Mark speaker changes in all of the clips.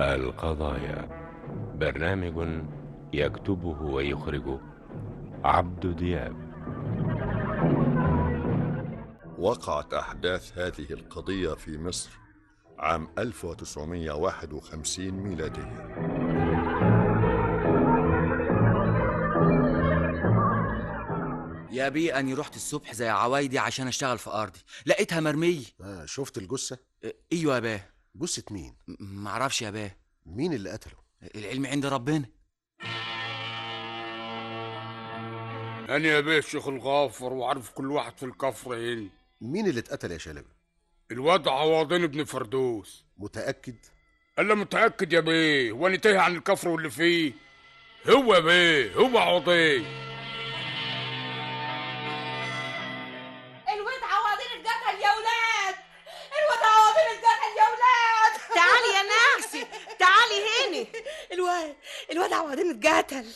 Speaker 1: القضايا برنامج يكتبه ويخرجه عبد دياب
Speaker 2: وقعت أحداث هذه القضية في مصر عام 1951 ميلادية
Speaker 3: يا بي اني رحت الصبح زي عوايدي عشان اشتغل في ارضي لقيتها مرميه
Speaker 4: آه شفت الجثة؟
Speaker 3: إيه، ايوه يا باه
Speaker 4: جثة مين؟
Speaker 3: م- معرفش يا باه
Speaker 4: مين اللي قتله؟
Speaker 3: العلم عند ربنا
Speaker 5: أنا يا بيه الشيخ الغافر وعارف كل واحد في الكفر هنا
Speaker 4: مين اللي اتقتل يا شلبي؟
Speaker 5: الواد عوضين ابن فردوس
Speaker 4: متأكد؟
Speaker 5: أنا متأكد يا بيه وأنا تايه عن الكفر واللي فيه هو يا بيه هو عوضين
Speaker 6: الواد عواضير اتقتل يا ولاد الواد عواضير اتقتل يا ولاد
Speaker 7: تعالي يا ناعسي تعالي هنا
Speaker 6: الواد الواد عواضير اتقتل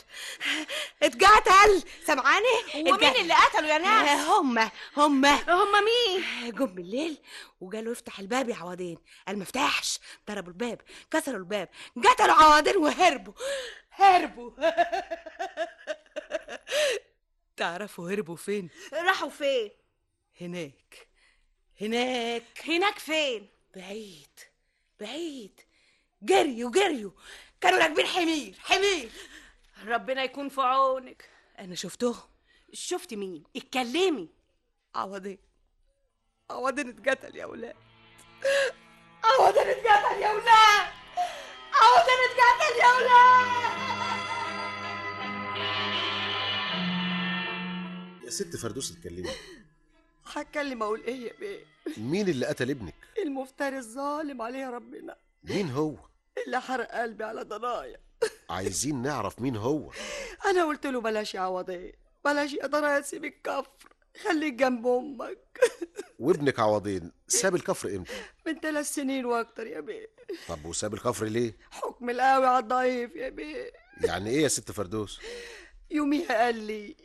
Speaker 6: اتقتل سامعاني
Speaker 7: ومين اللي قتله يا ناعسي
Speaker 6: هما هما
Speaker 7: هما مين
Speaker 6: آه، جم بالليل وقالوا يفتح الباب يا عوضين قال ما فتحش ضربوا الباب كسروا الباب قتلوا عوضين وهربوا هربوا تعرفوا هربوا فين
Speaker 7: راحوا فين
Speaker 6: هناك هناك
Speaker 7: هناك فين
Speaker 6: بعيد بعيد جريوا جريوا كانوا راكبين حمير حمير
Speaker 7: ربنا يكون في عونك
Speaker 6: انا شفتهم
Speaker 7: شفت مين اتكلمي
Speaker 6: عوضين عوضين اتقتل يا ولاد عوضين اتقتل يا ولاد عوضين اتقتل يا ولاد
Speaker 4: يا ست فردوس اتكلمي
Speaker 8: هتكلم اقول ايه يا بيه
Speaker 4: مين اللي قتل ابنك؟
Speaker 8: المفتري الظالم عليه ربنا
Speaker 4: مين هو؟
Speaker 8: اللي حرق قلبي على ضنايا
Speaker 4: عايزين نعرف مين هو
Speaker 8: انا قلت له بلاش يا عوضيه بلاش يا ضنايا سيب الكفر خليك جنب امك
Speaker 4: وابنك عوضين ساب الكفر امتى؟
Speaker 8: من ثلاث سنين واكتر يا بيه
Speaker 4: طب وساب الكفر ليه؟
Speaker 8: حكم القوي على الضعيف يا بيه
Speaker 4: يعني ايه يا ست فردوس؟
Speaker 8: يوميها قال لي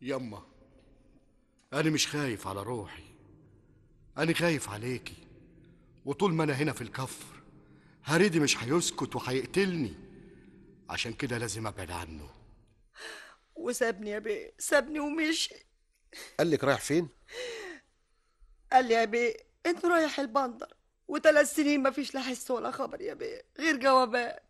Speaker 9: يما أنا مش خايف على روحي أنا خايف عليكي وطول ما أنا هنا في الكفر هريدي مش هيسكت وهيقتلني عشان كده لازم أبعد عنه
Speaker 8: وسابني يا بيه سابني ومشي
Speaker 4: قال لك رايح فين؟
Speaker 8: قال لي يا بيه انت رايح البندر وثلاث سنين ما فيش لا حس ولا خبر يا بيه غير جوابات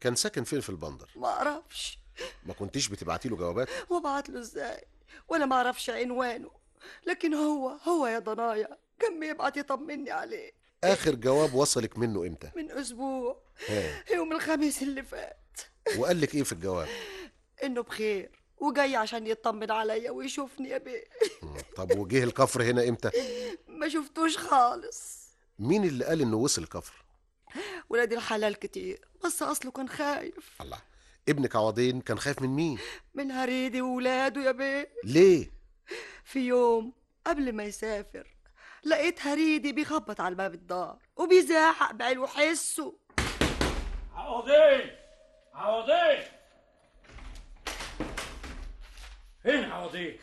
Speaker 4: كان ساكن فين في البندر؟
Speaker 8: ما اعرفش
Speaker 4: ما كنتيش بتبعتي له جوابات؟
Speaker 8: وابعت له ازاي وانا ما اعرفش عنوانه لكن هو هو يا ضنايا كان بيبعت يطمني عليه
Speaker 4: آخر جواب وصلك منه امتى؟
Speaker 8: من اسبوع
Speaker 4: ها
Speaker 8: يوم الخميس اللي فات
Speaker 4: وقال لك ايه في الجواب؟
Speaker 8: انه بخير وجاي عشان يطمن عليا ويشوفني يا بيه
Speaker 4: مم. طب وجه الكفر هنا امتى؟
Speaker 8: ما شفتوش خالص
Speaker 4: مين اللي قال انه وصل الكفر؟
Speaker 8: ولاد الحلال كتير بس اصله كان خايف
Speaker 4: الله ابنك عوضين كان خايف من مين؟
Speaker 8: من هريدي وولاده يا بيه
Speaker 4: ليه؟
Speaker 8: في يوم قبل ما يسافر لقيت هريدي بيخبط على باب الدار وبيزاحق بعلو حسه
Speaker 5: عوضين عوضين فين عوضين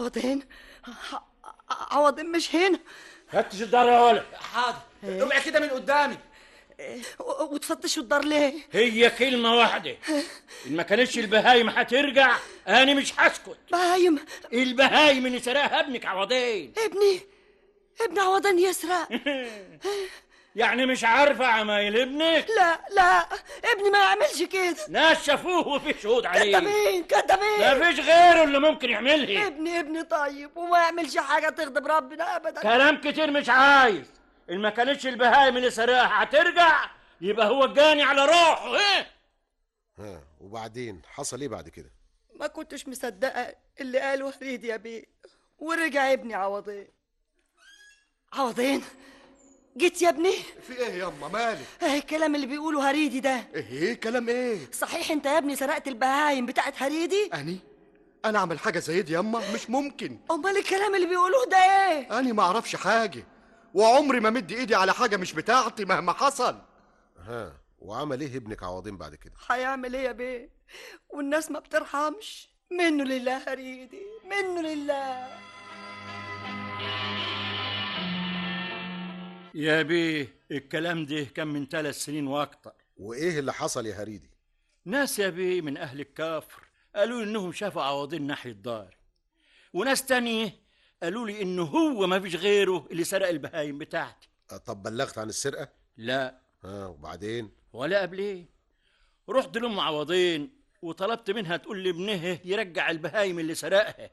Speaker 8: عوضين ع- عوضين مش هنا
Speaker 5: فتش الدار يا ولد
Speaker 3: حاضر اوعي كده من قدامي
Speaker 8: و- وتفتشوا الدار ليه
Speaker 5: هي كلمة واحدة إن ما كانتش البهايم هترجع أنا مش هسكت
Speaker 8: بايم
Speaker 5: البهايم اللي سرقها ابنك عوضين
Speaker 8: ابني ابن عوضين يسرق
Speaker 5: يعني مش عارفة عمايل ابنك
Speaker 8: لا لا ابني ما يعملش كده
Speaker 5: ناس شافوه وفي شهود
Speaker 8: إيه،
Speaker 5: عليه
Speaker 8: كدابين كدابين
Speaker 5: ما فيش غيره اللي ممكن يعملها
Speaker 8: ابني ابني طيب وما يعملش حاجة تغضب ربنا أبدا
Speaker 5: كلام كتير مش عايز إن ما كانتش البهايم اللي سرقها هترجع يبقى هو الجاني على روحه إيه؟
Speaker 4: ها وبعدين حصل ايه بعد كده؟
Speaker 8: ما كنتش مصدقة اللي قاله هريد يا بيه ورجع ابني عوضين عوضين جيت يا ابني
Speaker 9: في ايه يما مالك؟
Speaker 8: ايه الكلام اللي بيقوله هريدي ده
Speaker 9: ايه ايه كلام ايه؟
Speaker 8: صحيح انت يا ابني سرقت البهايم بتاعت هريدي
Speaker 9: أني؟ أنا أعمل حاجة زي دي يما؟ مش ممكن
Speaker 8: امال الكلام اللي بيقولوه ده ايه
Speaker 9: أنا ما أعرفش حاجة وعمري ما مد إيدي على حاجة مش بتاعتي مهما حصل
Speaker 4: ها وعمل ايه ابنك عوضين بعد كده؟
Speaker 8: هيعمل ايه يا بيه والناس ما بترحمش منه لله هريدي منه لله
Speaker 3: يا بيه الكلام ده كان من ثلاث سنين واكتر
Speaker 10: وايه اللي حصل يا هريدي
Speaker 3: ناس يا بيه من أهل الكفر قالوا لي إنهم شافوا عوضين ناحية داري وناس تانية قالوا لي إنه هو ما فيش غيره اللي سرق البهايم بتاعتي
Speaker 10: آه، طب بلغت عن السرقه
Speaker 3: لا
Speaker 4: آه،
Speaker 10: ها وبعدين
Speaker 3: ولا قبليه رحت لأم عوضين وطلبت منها تقول لي ابنها يرجع البهايم اللي سرقها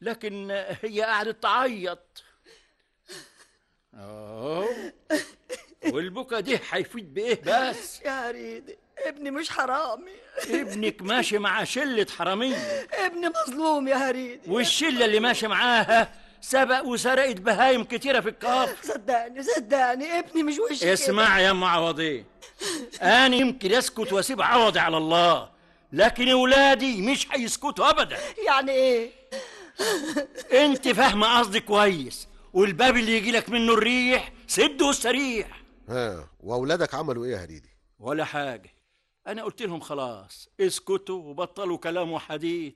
Speaker 3: لكن هي قعدت تعيط اه والبكا دي هيفيد بايه بس
Speaker 11: يا هريدي ابني مش حرامي
Speaker 3: ابنك ماشي مع شله حراميه
Speaker 11: ابني مظلوم يا هريدي
Speaker 3: والشلة اللي ماشي معاها سبق وسرقت بهايم كتيرة في الكفر
Speaker 11: صدقني صدقني ابني مش وش كده.
Speaker 3: اسمع يا ام عوضي انا يمكن اسكت واسيب عوضي على الله لكن اولادي مش هيسكتوا ابدا
Speaker 11: يعني
Speaker 8: إيه؟
Speaker 11: ايه
Speaker 3: انت فاهمه قصدي كويس والباب اللي يجي لك منه الريح سده السريح
Speaker 10: ها واولادك عملوا ايه يا هريدي
Speaker 3: ولا حاجه انا قلت لهم خلاص اسكتوا وبطلوا كلام وحديث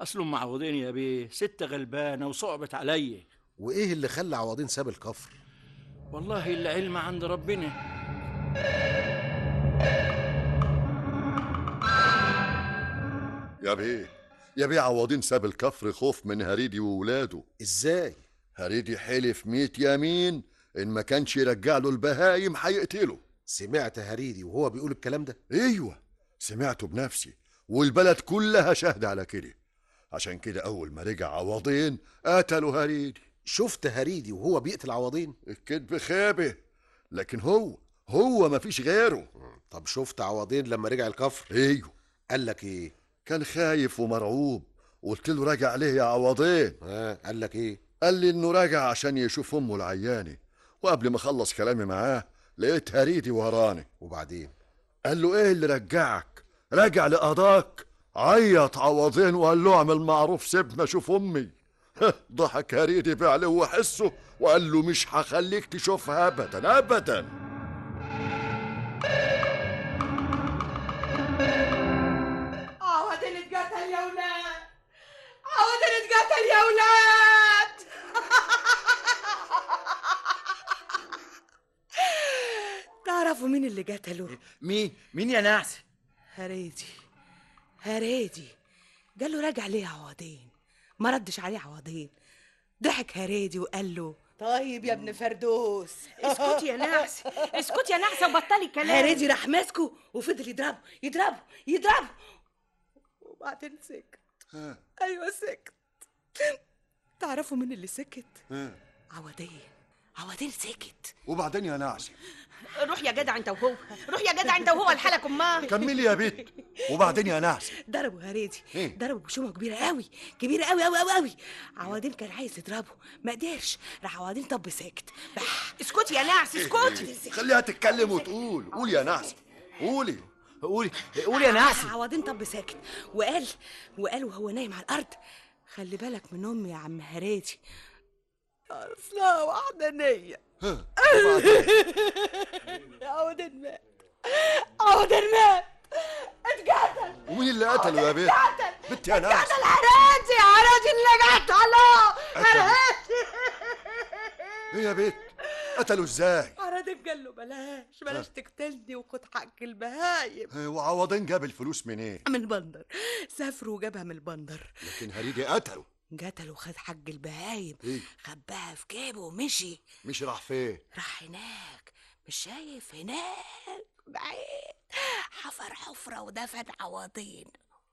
Speaker 3: اصلهم معوضين يا بيه ست غلبانه وصعبت عليا
Speaker 10: وايه اللي خلى عوضين ساب الكفر
Speaker 3: والله العلم عند ربنا
Speaker 4: يا بيه يا بيه عوضين ساب الكفر خوف من هريدي وولاده
Speaker 10: ازاي
Speaker 4: هريدي حلف ميت يمين إن ما كانش يرجع له البهايم هيقتله
Speaker 10: سمعت هريدي وهو بيقول الكلام ده
Speaker 4: ايوه سمعته بنفسي والبلد كلها شاهدة على كده عشان كده أول ما رجع عوضين قتلوا هريدي
Speaker 10: شفت هريدي وهو بيقتل عوضين
Speaker 4: الكذب خابه لكن هو هو ما فيش غيره
Speaker 10: طب شفت عوضين لما رجع الكفر
Speaker 4: ايوه
Speaker 10: قال لك ايه
Speaker 4: كان خايف ومرعوب قلت له راجع ليه يا عوضين
Speaker 10: ها قال لك ايه
Speaker 4: قال لي انه راجع عشان يشوف امه العيانه وقبل ما اخلص كلامي معاه لقيت هريدي وراني
Speaker 10: وبعدين
Speaker 4: قال له ايه اللي رجعك راجع لقضاك عيط عوضين وقال له اعمل معروف سيبنا اشوف امي ضحك هريدي بعلو وحسه وقال له مش هخليك تشوفها ابدا ابدا
Speaker 8: عوضين اتقتل يا ولاد عوضين اتقتل يا ولاد تعرفوا مين اللي قتله
Speaker 12: مين مين يا نعسة
Speaker 8: هريدي هريدي قاله راجع ليه عوضين ما ردش عليه عوضين ضحك هريدي وقال له طيب يا ابن فردوس
Speaker 7: اسكتي يا نعسة اسكتي يا نعسة وبطلي كلام
Speaker 8: هريدي راح ماسكه وفضل يضربه يضربه يضربه وبعدين سكت ايوه سكت تعرفوا مين اللي سكت عوضين عوضين سكت
Speaker 4: وبعدين يا نعسة
Speaker 7: روح يا جدع انت وهو روح يا جدع انت وهو الحلقة امها
Speaker 4: كملي يا بيت وبعدين يا نعسة
Speaker 8: ضربوا هريدي
Speaker 4: إيه؟
Speaker 8: ضربوا بشومه كبيره قوي كبيره قوي قوي قوي قوي عوضين كان عايز يضربه ما قدرش راح عوضين طب سكت بح
Speaker 7: اسكتي يا نعسة اسكتي
Speaker 4: خليها تتكلم وتقول قول يا نعسة قولي
Speaker 12: قولي قولي يا نعسة
Speaker 8: عوضين طب ساكت وقال وقال وهو نايم على الارض خلي بالك من امي يا عم هريدي اصلها وحدانيه عوضين مات عوضين مات اتقتل
Speaker 4: ومين اللي قتله يا بيت بنت يا نعسة
Speaker 8: قتل هريدي هريدي اللي قتله
Speaker 4: قتله. ايه يا بيت قتله ازاي
Speaker 8: عرادب قال له بلاش بلاش تقتلني وخد حق البهايم
Speaker 4: آه، وعوضين جاب الفلوس منين
Speaker 8: من البندر سافر وجابها من البندر
Speaker 4: لكن هريدي قتله
Speaker 8: قتل وخد حق البهايم
Speaker 4: إيه؟
Speaker 8: خباها في جيبه ومشي
Speaker 4: مش راح فين
Speaker 8: راح هناك مش شايف هناك بعيد حفر حفرة ودفن عواطين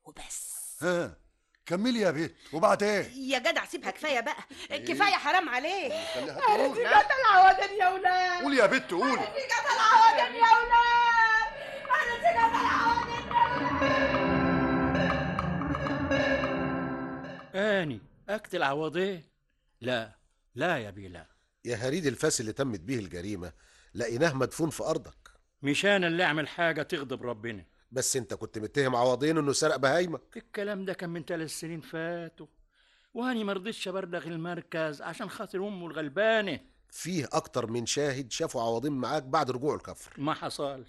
Speaker 8: وبس
Speaker 4: ها كملي يا بيت وبعدين
Speaker 7: يا جدع سيبها كفاية بقى كفاية حرام عليك
Speaker 4: خليها تقول
Speaker 8: قتل عواطين يا ولاد
Speaker 4: قول يا بيت قولي
Speaker 8: قتل عواطين يا ولاد أنا قتل عواطين
Speaker 3: اني اقتل عوضين إيه؟ لا لا يا بيه لا
Speaker 10: يا هريدي الفاس اللي تمت بيه الجريمه لقيناه مدفون في ارضك
Speaker 3: مش انا اللي اعمل حاجه تغضب ربنا
Speaker 10: بس انت كنت متهم عوضين انه سرق بهايمك
Speaker 3: الكلام ده كان من ثلاث سنين فاتوا واني ما رضيتش ابلغ المركز عشان خاطر امه الغلبانه
Speaker 10: فيه اكتر من شاهد شافوا عوضين معاك بعد رجوعه الكفر
Speaker 3: ما حصلش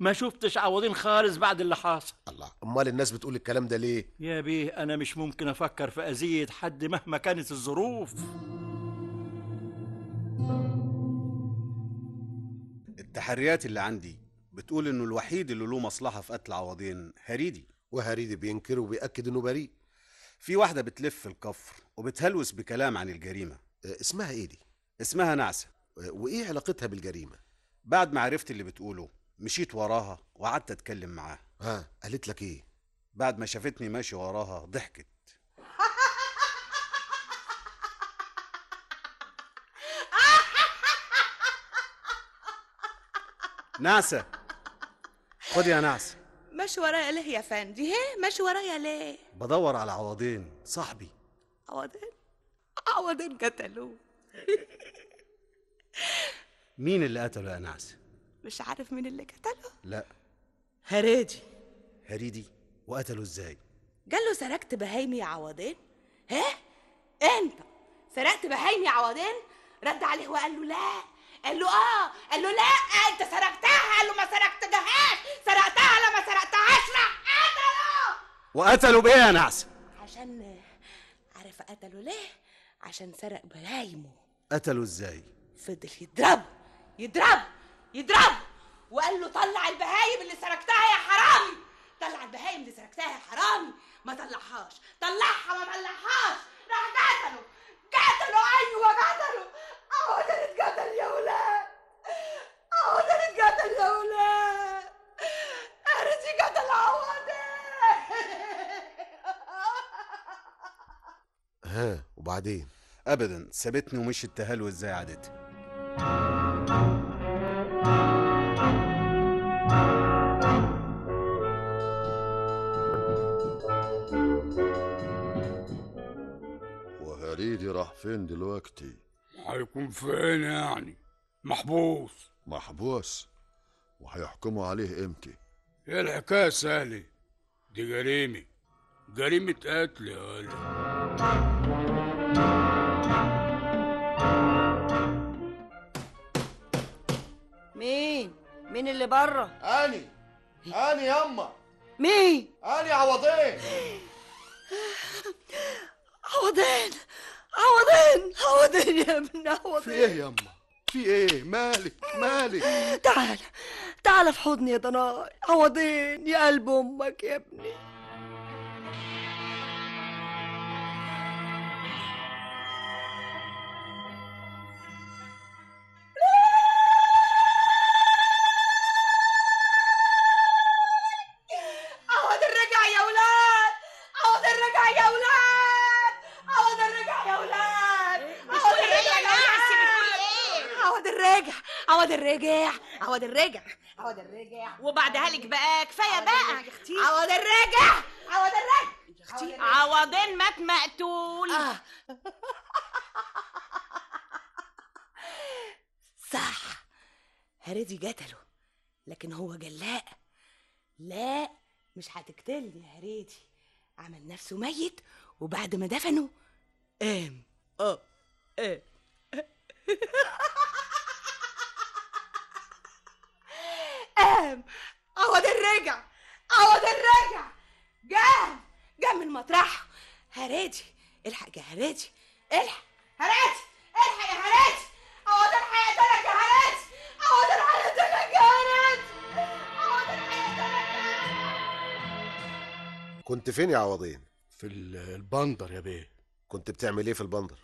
Speaker 3: ما شفتش عوضين خالص بعد اللي حصل
Speaker 10: الله امال الناس بتقول الكلام ده ليه
Speaker 3: يا بيه انا مش ممكن افكر في اذيه حد مهما كانت الظروف
Speaker 10: التحريات اللي عندي بتقول انه الوحيد اللي له مصلحه في قتل عوضين هريدي وهريدي بينكر وبيأكد انه بريء في واحده بتلف الكفر وبتهلوس بكلام عن الجريمه اسمها ايه دي اسمها نعسه وايه علاقتها بالجريمه بعد ما عرفت اللي بتقوله مشيت وراها وقعدت اتكلم معاها ها قالت لك ايه بعد ما شافتني ماشي وراها ضحكت نعسه خد يا نعسه
Speaker 8: ماشي ورايا ليه يا فندي
Speaker 7: إيه؟
Speaker 8: هي ماشي ورايا ليه
Speaker 10: بدور على عوضين صاحبي
Speaker 8: عوضين عوضين قتلوه
Speaker 10: مين اللي قتله يا نعسه
Speaker 8: مش عارف مين اللي قتله
Speaker 10: لا
Speaker 8: هريدي
Speaker 10: هريدي وقتله ازاي
Speaker 8: قال له سرقت بهايمي يا عوضين ها انت سرقت بهايمي يا عوضين رد عليه وقال له لا قال له اه قال له لا انت سرقتها قال له ما سرقتهاش سرقتها لا ما سرقتهاش لا
Speaker 10: وقتله بايه يا نعسه
Speaker 8: عشان عارف قتله ليه عشان سرق بهايمه
Speaker 10: قتله ازاي
Speaker 8: فضل يضربه يضربه يضربه وقال له طلع البهايم اللي سرقتها يا حرامي طلع البهايم اللي سرقتها يا حرامي ما طلعهاش طلعها ما طلعهاش راح قتله قتله ايوه قتله اهو ده اتقتل يا ولاد اهو ده اتقتل يا ولاد ارتي قتل عوضي
Speaker 10: ها وبعدين ابدا سابتني ومشيت تهلوس زي عادتها
Speaker 13: وهريدي راح فين دلوقتي
Speaker 5: هيكون فين يعني محبوس
Speaker 13: محبوس وهيحكموا عليه امتى
Speaker 5: ايه الحكايه سالي دي جريمه جريمه قتل يا ولد
Speaker 7: مين مين اللي بره
Speaker 9: اني اني يما
Speaker 7: مين
Speaker 9: اني عوضين
Speaker 7: عوضين عوضين عوضين يا ابن عوضين
Speaker 9: في ايه يما في ايه مالك مالك
Speaker 7: تعال تعال في حضني يا ضناي عوضين يا قلب امك يا ابني
Speaker 8: عوض الرجع يا ولاد عوض الرجع يا ولاد عوض الرجع يا ولاد عوض
Speaker 14: إيه يا
Speaker 8: الرجع يا
Speaker 14: ناس بتقول إيه؟
Speaker 8: ولاد عوض الرجع عوض الرجع عوض الرجع عوض الرجع
Speaker 14: وبعد هلك بقى كفايه بقى
Speaker 8: عوض الرجع عوض الرجع
Speaker 14: عوضين مات مقتول
Speaker 7: آه.
Speaker 8: آه. صح هريدي قتله لكن هو جلاء لا مش هتقتلني يا هريدي عمل نفسه ميت وبعد ما دفنه قام اه قام قام عوض الرجع عوض الرجع قام قام من مطرحه هريدي الحق يا هريدي الحق هريدي الحق يا هريدي عوض الحياة لك يا هريدي عوض الحياة لك يا هريدي
Speaker 4: كنت فين يا عوضين
Speaker 9: في البندر يا بيه
Speaker 4: كنت بتعمل ايه في البندر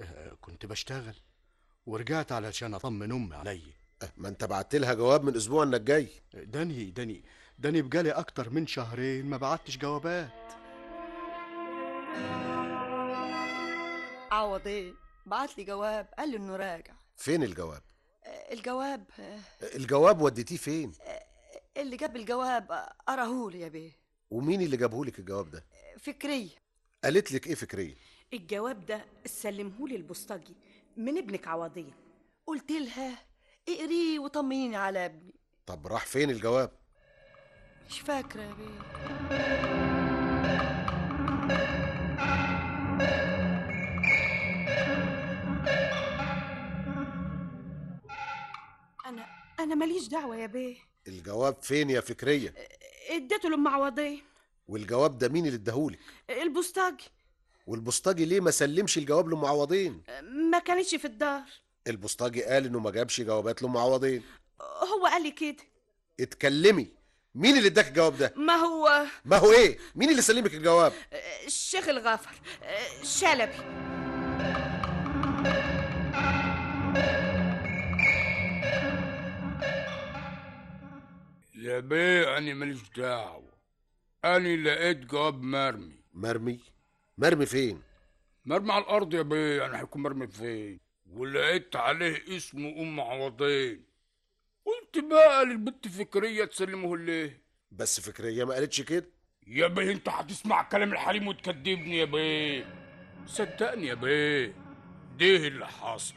Speaker 9: آه، كنت بشتغل ورجعت علشان اطمن امي عليا
Speaker 4: أه، ما انت بعت لها جواب من اسبوع انك جاي
Speaker 9: داني داني داني بجالي اكتر من شهرين ما بعتش جوابات
Speaker 7: عوضين بعت لي جواب قال لي انه راجع
Speaker 4: فين الجواب
Speaker 7: آه، الجواب آه،
Speaker 4: الجواب وديتيه فين
Speaker 7: اللي جاب الجواب آه، قراهولي يا بيه
Speaker 4: ومين اللي جابهولك الجواب ده
Speaker 7: فكرية
Speaker 4: قالت لك ايه فكريه
Speaker 15: الجواب ده سلمهولي البوسطجي من ابنك عوضين
Speaker 7: قلت لها اقريه وطمنيني على ابني
Speaker 4: طب راح فين الجواب
Speaker 7: مش فاكرة يا بيه
Speaker 15: انا انا ماليش دعوه يا بيه
Speaker 4: الجواب فين يا فكريه
Speaker 15: اديته لام عوضين
Speaker 4: والجواب ده مين اللي اداهولك
Speaker 15: البوسطجي
Speaker 4: والبوسطجي ليه ما سلمش الجواب لام عوضين
Speaker 15: ما كانتش في الدار
Speaker 4: البوسطجي قال انه ما جابش جوابات لام عوضين
Speaker 7: هو قال لي كده
Speaker 10: اتكلمي مين اللي اداك الجواب ده
Speaker 7: ما هو
Speaker 10: ما هو ايه مين اللي سلمك الجواب
Speaker 7: الشيخ الغافر آه، شلبي
Speaker 5: لا بيه أنا ماليش دعوة أنا لقيت جواب مرمي
Speaker 10: مرمي مرمي فين
Speaker 5: مرمي على الأرض يا بيه أنا هيكون مرمي فين ولقيت عليه اسم أم عوضين قلت بقى للبت فكرية تسلمه ليه
Speaker 10: بس فكرية ما قالتش كده
Speaker 5: يا بيه أنت هتسمع كلام الحريم وتكدبني يا بيه صدقني يا بيه ده اللي حصل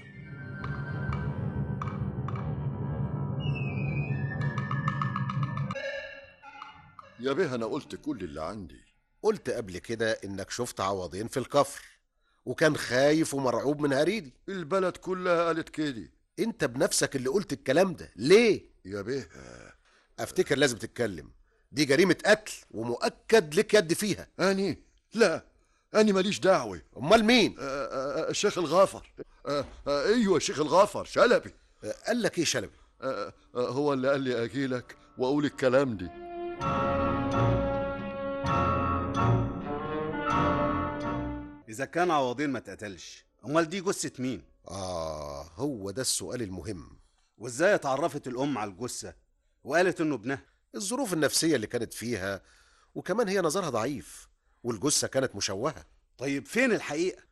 Speaker 10: يا بيه انا قلت كل اللي عندي قلت قبل كده انك شفت عوضين في الكفر وكان خايف ومرعوب من هريدي البلد كلها قالت كده انت بنفسك اللي قلت الكلام ده ليه يا بيه افتكر لازم تتكلم دي جريمة قتل ومؤكد لك يد فيها اني لا اني ماليش دعوة امال مين
Speaker 4: أه،
Speaker 10: الشيخ الغافر
Speaker 4: ايوه الشيخ الغافر شلبي أه،
Speaker 10: قال لك ايه شلبي
Speaker 4: هو اللي قال لي اجيلك واقول الكلام دي
Speaker 16: إذا كان عوضين ما اتقتلش أمال دي جثة مين؟
Speaker 10: آه هو ده السؤال المهم
Speaker 16: وإزاي اتعرفت الأم على الجثة؟ وقالت إنه ابنها
Speaker 10: الظروف النفسية اللي كانت فيها وكمان هي نظرها ضعيف والجثة كانت مشوهة
Speaker 16: طيب فين الحقيقة؟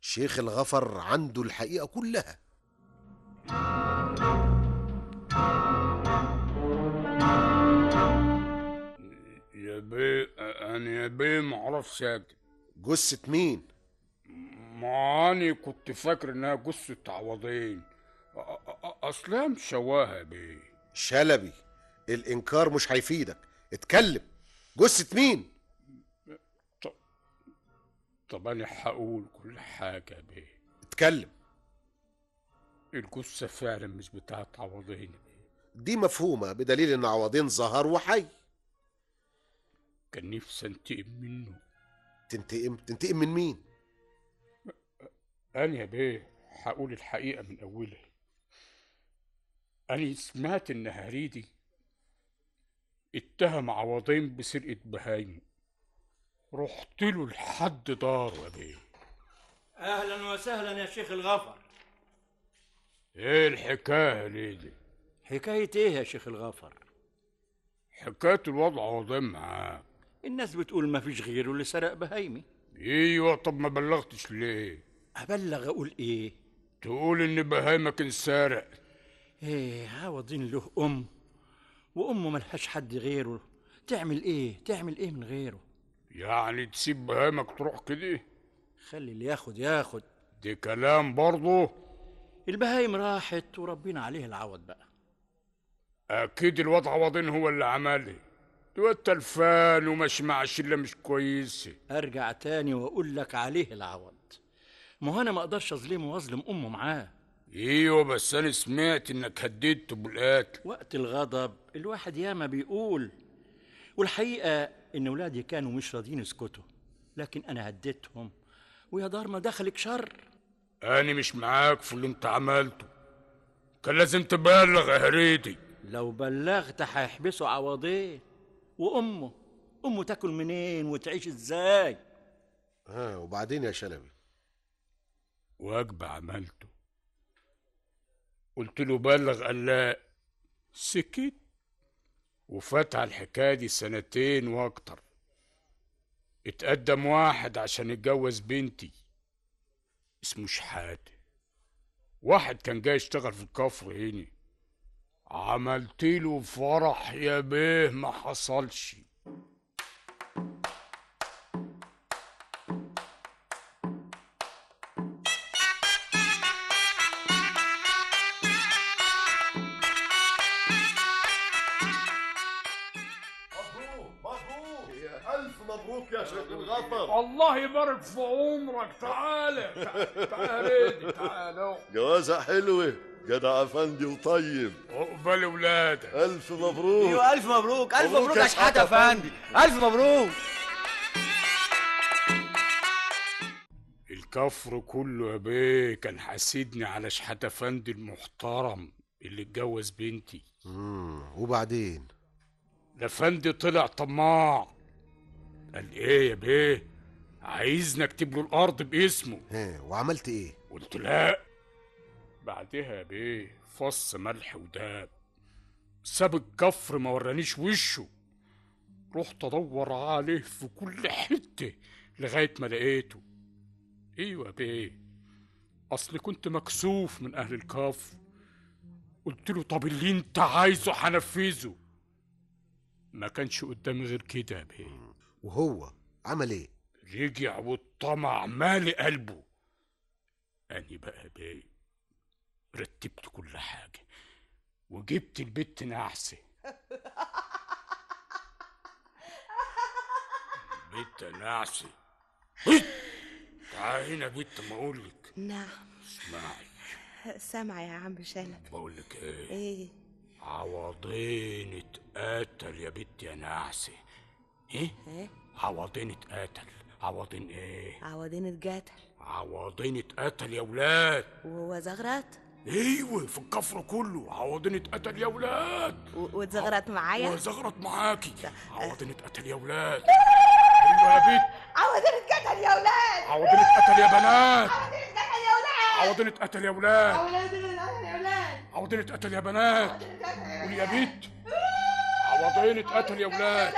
Speaker 10: شيخ الغفر عنده الحقيقة كلها
Speaker 5: يا بيه أنا يا بيه معرفش أكتب
Speaker 10: جثة مين؟
Speaker 5: ما أنا كنت فاكر إنها جثة عوضين أ- أ- أ- أصلها مشواها يا بيه
Speaker 10: شلبي الإنكار مش هيفيدك اتكلم جثة مين؟
Speaker 5: طب أنا هقول كل حاجة يا بيه
Speaker 10: اتكلم
Speaker 5: الجثة فعلا مش بتاعت عوضين
Speaker 10: دي مفهومة بدليل إن عوضين ظهر وحي
Speaker 5: كان نفسي أنتقم منه
Speaker 10: تنتقم تنتقم من مين؟
Speaker 5: أنا يا بيه هقول الحقيقة من أولها أنا سمعت إن هريدي اتهم عوضين بسرقة بهايم رحت له لحد داره يا بيه
Speaker 3: اهلا وسهلا يا شيخ الغفر
Speaker 5: ايه الحكايه ليه دي
Speaker 3: حكايه ايه يا شيخ الغفر
Speaker 5: حكايه الوضع وضع معاك
Speaker 3: الناس بتقول ما فيش غيره اللي سرق بهايمي
Speaker 5: ايوه طب ما بلغتش ليه
Speaker 3: ابلغ اقول ايه
Speaker 5: تقول ان بهايمك انسرق
Speaker 3: ايه عوضين له ام وامه ملهاش حد غيره تعمل ايه تعمل ايه من غيره
Speaker 5: يعني تسيب بهايمك تروح كده
Speaker 3: خلي اللي ياخد ياخد
Speaker 5: دي كلام برضه
Speaker 3: البهايم راحت وربنا عليه العوض بقى
Speaker 5: اكيد الوضع وضين هو اللي عمله دول تلفان وماشي مع شله مش كويسه
Speaker 3: ارجع تاني واقول لك عليه العوض ما هو انا ما اقدرش اظلمه واظلم امه معاه
Speaker 5: ايوه بس انا سمعت انك هددته بالقتل
Speaker 3: وقت الغضب الواحد ياما بيقول والحقيقه ان ولادي كانوا مش راضيين يسكتوا لكن انا هديتهم ويا دار ما دخلك شر
Speaker 5: انا مش معاك في اللي انت عملته كان لازم تبلغ يا هريدي
Speaker 3: لو بلغت هيحبسوا عوضين وامه امه تاكل منين وتعيش ازاي
Speaker 10: ها آه، وبعدين يا شلبي
Speaker 5: واجب عملته قلت له بلغ قال لا سكت وفات على الحكايه دي سنتين واكتر اتقدم واحد عشان يتجوز بنتي اسمه شحاته واحد كان جاي يشتغل في الكفر هنا عملت له فرح يا بيه ما حصلش
Speaker 4: ألف مبروك يا شيخ الغفر
Speaker 5: الله يبارك في عمرك تعالى تعالى يا هريدي تعالى
Speaker 4: جوازة حلوة جدع أفندي وطيب
Speaker 5: عقبال ولادك
Speaker 4: ألف مبروك
Speaker 12: ايوه الف مبروك الف
Speaker 4: مبروك
Speaker 12: مبروك
Speaker 4: يا
Speaker 12: يا شحاته يا
Speaker 4: شحاتة يا
Speaker 12: فندم الف مبروك
Speaker 5: الكفر كله يا بيه كان حاسدني على شحات افندي المحترم اللي اتجوز بنتي
Speaker 10: مم. وبعدين
Speaker 5: الافندي طلع طماع قال ايه يا بيه عايزني اكتب له الارض باسمه
Speaker 10: ها وعملت ايه
Speaker 5: قلت لا بعدها يا بيه فص ملح وداب ساب الكفر ما ورانيش وشه رحت ادور عليه في كل حته لغايه ما لقيته ايوه يا بيه اصل كنت مكسوف من اهل الكفر قلت له طب اللي انت عايزه هنفذه ما كانش قدامي غير كده يا بيه
Speaker 10: وهو عمل ايه
Speaker 5: رجع والطمع مالي قلبه أني بقى بيه رتبت كل حاجة وجبت البت نعسة بت نعسة هيت! تعالي هنا بت ما أقولك
Speaker 7: نعم
Speaker 5: اسمعي
Speaker 7: سامعة يا عم
Speaker 8: نعم.
Speaker 7: شالب
Speaker 5: بقولك إيه
Speaker 7: ايه
Speaker 5: عوضين اتقتل يا بت يا نعسة إيه؟
Speaker 7: ايه
Speaker 5: عوضين اتقتل عوضين إيه؟
Speaker 7: عوضين اتقتل
Speaker 5: عوضين اتقتل يا ولاد
Speaker 7: وهو زغرت
Speaker 5: ايوه في الكفر كله عوضين اتقتل يا ولاد
Speaker 8: آه.
Speaker 7: و- واتزغرت
Speaker 8: أيوة.
Speaker 7: معايا
Speaker 5: وزغرت معاكي عوضين اتقتل يا ولاد ايوه يا بت
Speaker 8: عوضين اتقتل يا ولاد
Speaker 5: عوضين اتقتل يا بنات
Speaker 8: عوضين اتقتل يا ولاد
Speaker 5: عوضين اتقتل يا ولاد
Speaker 8: عوضين اتقتل يا ولاد
Speaker 5: عوضين اتقتل يا بنات قول يا بت عوضين اتقتل يا ولاد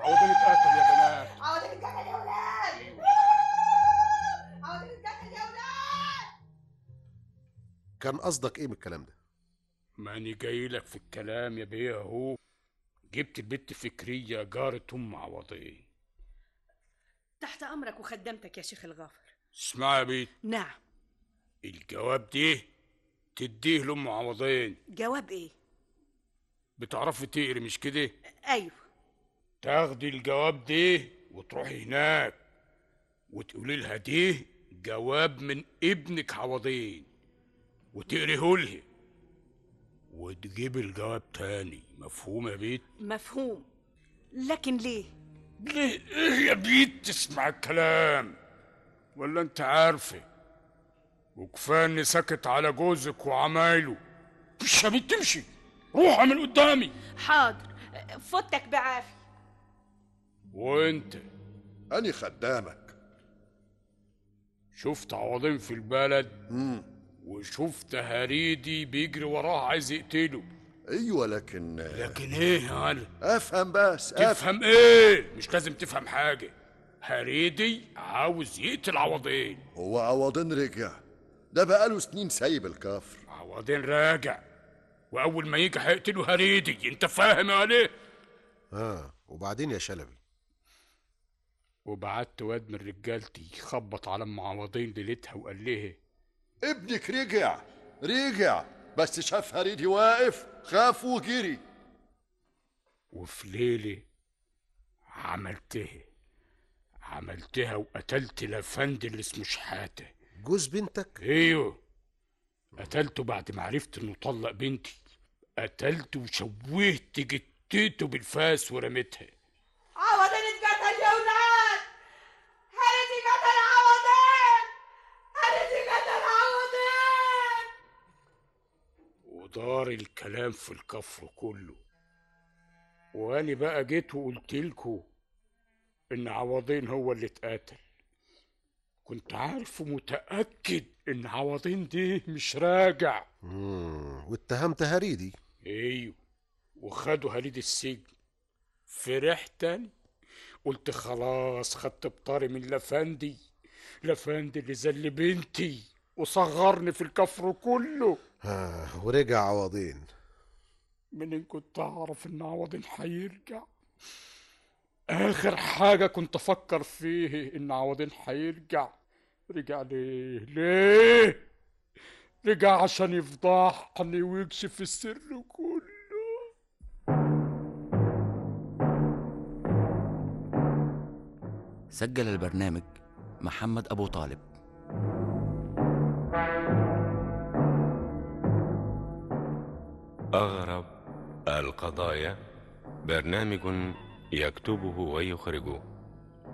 Speaker 5: عوضين اتقتل يا بنات
Speaker 8: عوضين اتقتل يا ولاد عوضين اتقتل يا ولاد
Speaker 10: كان قصدك ايه من الكلام ده
Speaker 5: ماني جاي لك في الكلام يا بيه اهو جبت البت فكريه جارة ام عوضين
Speaker 17: تحت امرك وخدمتك يا شيخ الغافر
Speaker 5: اسمعي يا بت
Speaker 17: نعم
Speaker 5: الجواب دي تديه لام عوضين
Speaker 17: جواب
Speaker 7: إيه؟
Speaker 17: ايه
Speaker 5: بتعرفي تقري مش كده
Speaker 17: ايوه
Speaker 5: تاخدي الجواب دي وتروحي هناك وتقولي لها دي جواب من ابنك عوضين وتقريه لها وتجيب الجواب تاني مفهوم يا بيت
Speaker 17: مفهوم لكن ليه
Speaker 5: ليه ايه يا بيت تسمع الكلام ولا انت عارفه وكفايه اني ساكت على جوزك وعمايله مش يا بيت تمشي روح من قدامي
Speaker 17: حاضر فوتك بعافية
Speaker 5: وانت
Speaker 4: أني خدامك
Speaker 5: شفت عوضين في البلد وشفت هريدي بيجري وراه عايز يقتله
Speaker 4: ايوه لكن
Speaker 5: لكن ايه يا علي
Speaker 4: افهم بس أفهم.
Speaker 5: تفهم ايه مش لازم تفهم حاجه هريدي عاوز يقتل عوضين
Speaker 4: هو عوضين رجع ده بقاله سنين سايب الكفر
Speaker 5: عوضين راجع واول ما يجي هيقتله هريدي انت فاهم يا علي
Speaker 10: اه وبعدين يا شلبي
Speaker 5: وبعت واد من رجالتي خبط على ام عوضين ليلتها وقال لها
Speaker 4: ابنك رجع رجع بس شاف هريدي واقف خاف وجري
Speaker 5: وفي ليلة عملتها عملتها وقتلت الافندي اللي اسمه شحاتة
Speaker 10: جوز بنتك؟
Speaker 5: ايوه قتلته بعد ما عرفت انه طلق بنتي قتلته وشوهت جتته بالفاس ورميتها
Speaker 8: عوضين اتقتل يا ولاد هرتي قتل عوضين هرتي قتل عوضين
Speaker 5: ودار الكلام في الكفر كله وأنا بقى جيت وقلت لكم إن عوضين هو اللي اتقتل كنت عارف ومتأكد إن عوضين دي مش راجع
Speaker 10: مم. واتهمت هريدي
Speaker 5: ايوه وخدوا هليد السجن فرحت تاني قلت خلاص خدت بطاري من لافندي لافندي اللي زل بنتي وصغرني في الكفر كله
Speaker 10: آه ورجع عوضين
Speaker 5: منين كنت اعرف ان عوضين هيرجع اخر حاجه كنت افكر فيه ان عوضين هيرجع رجع ليه ليه رجع عشان يفضحني ويكشف السر كله
Speaker 12: سجل البرنامج محمد أبو طالب
Speaker 1: أغرب القضايا برنامج يكتبه ويخرجه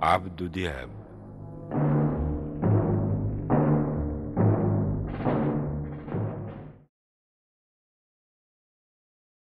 Speaker 1: عبد دياب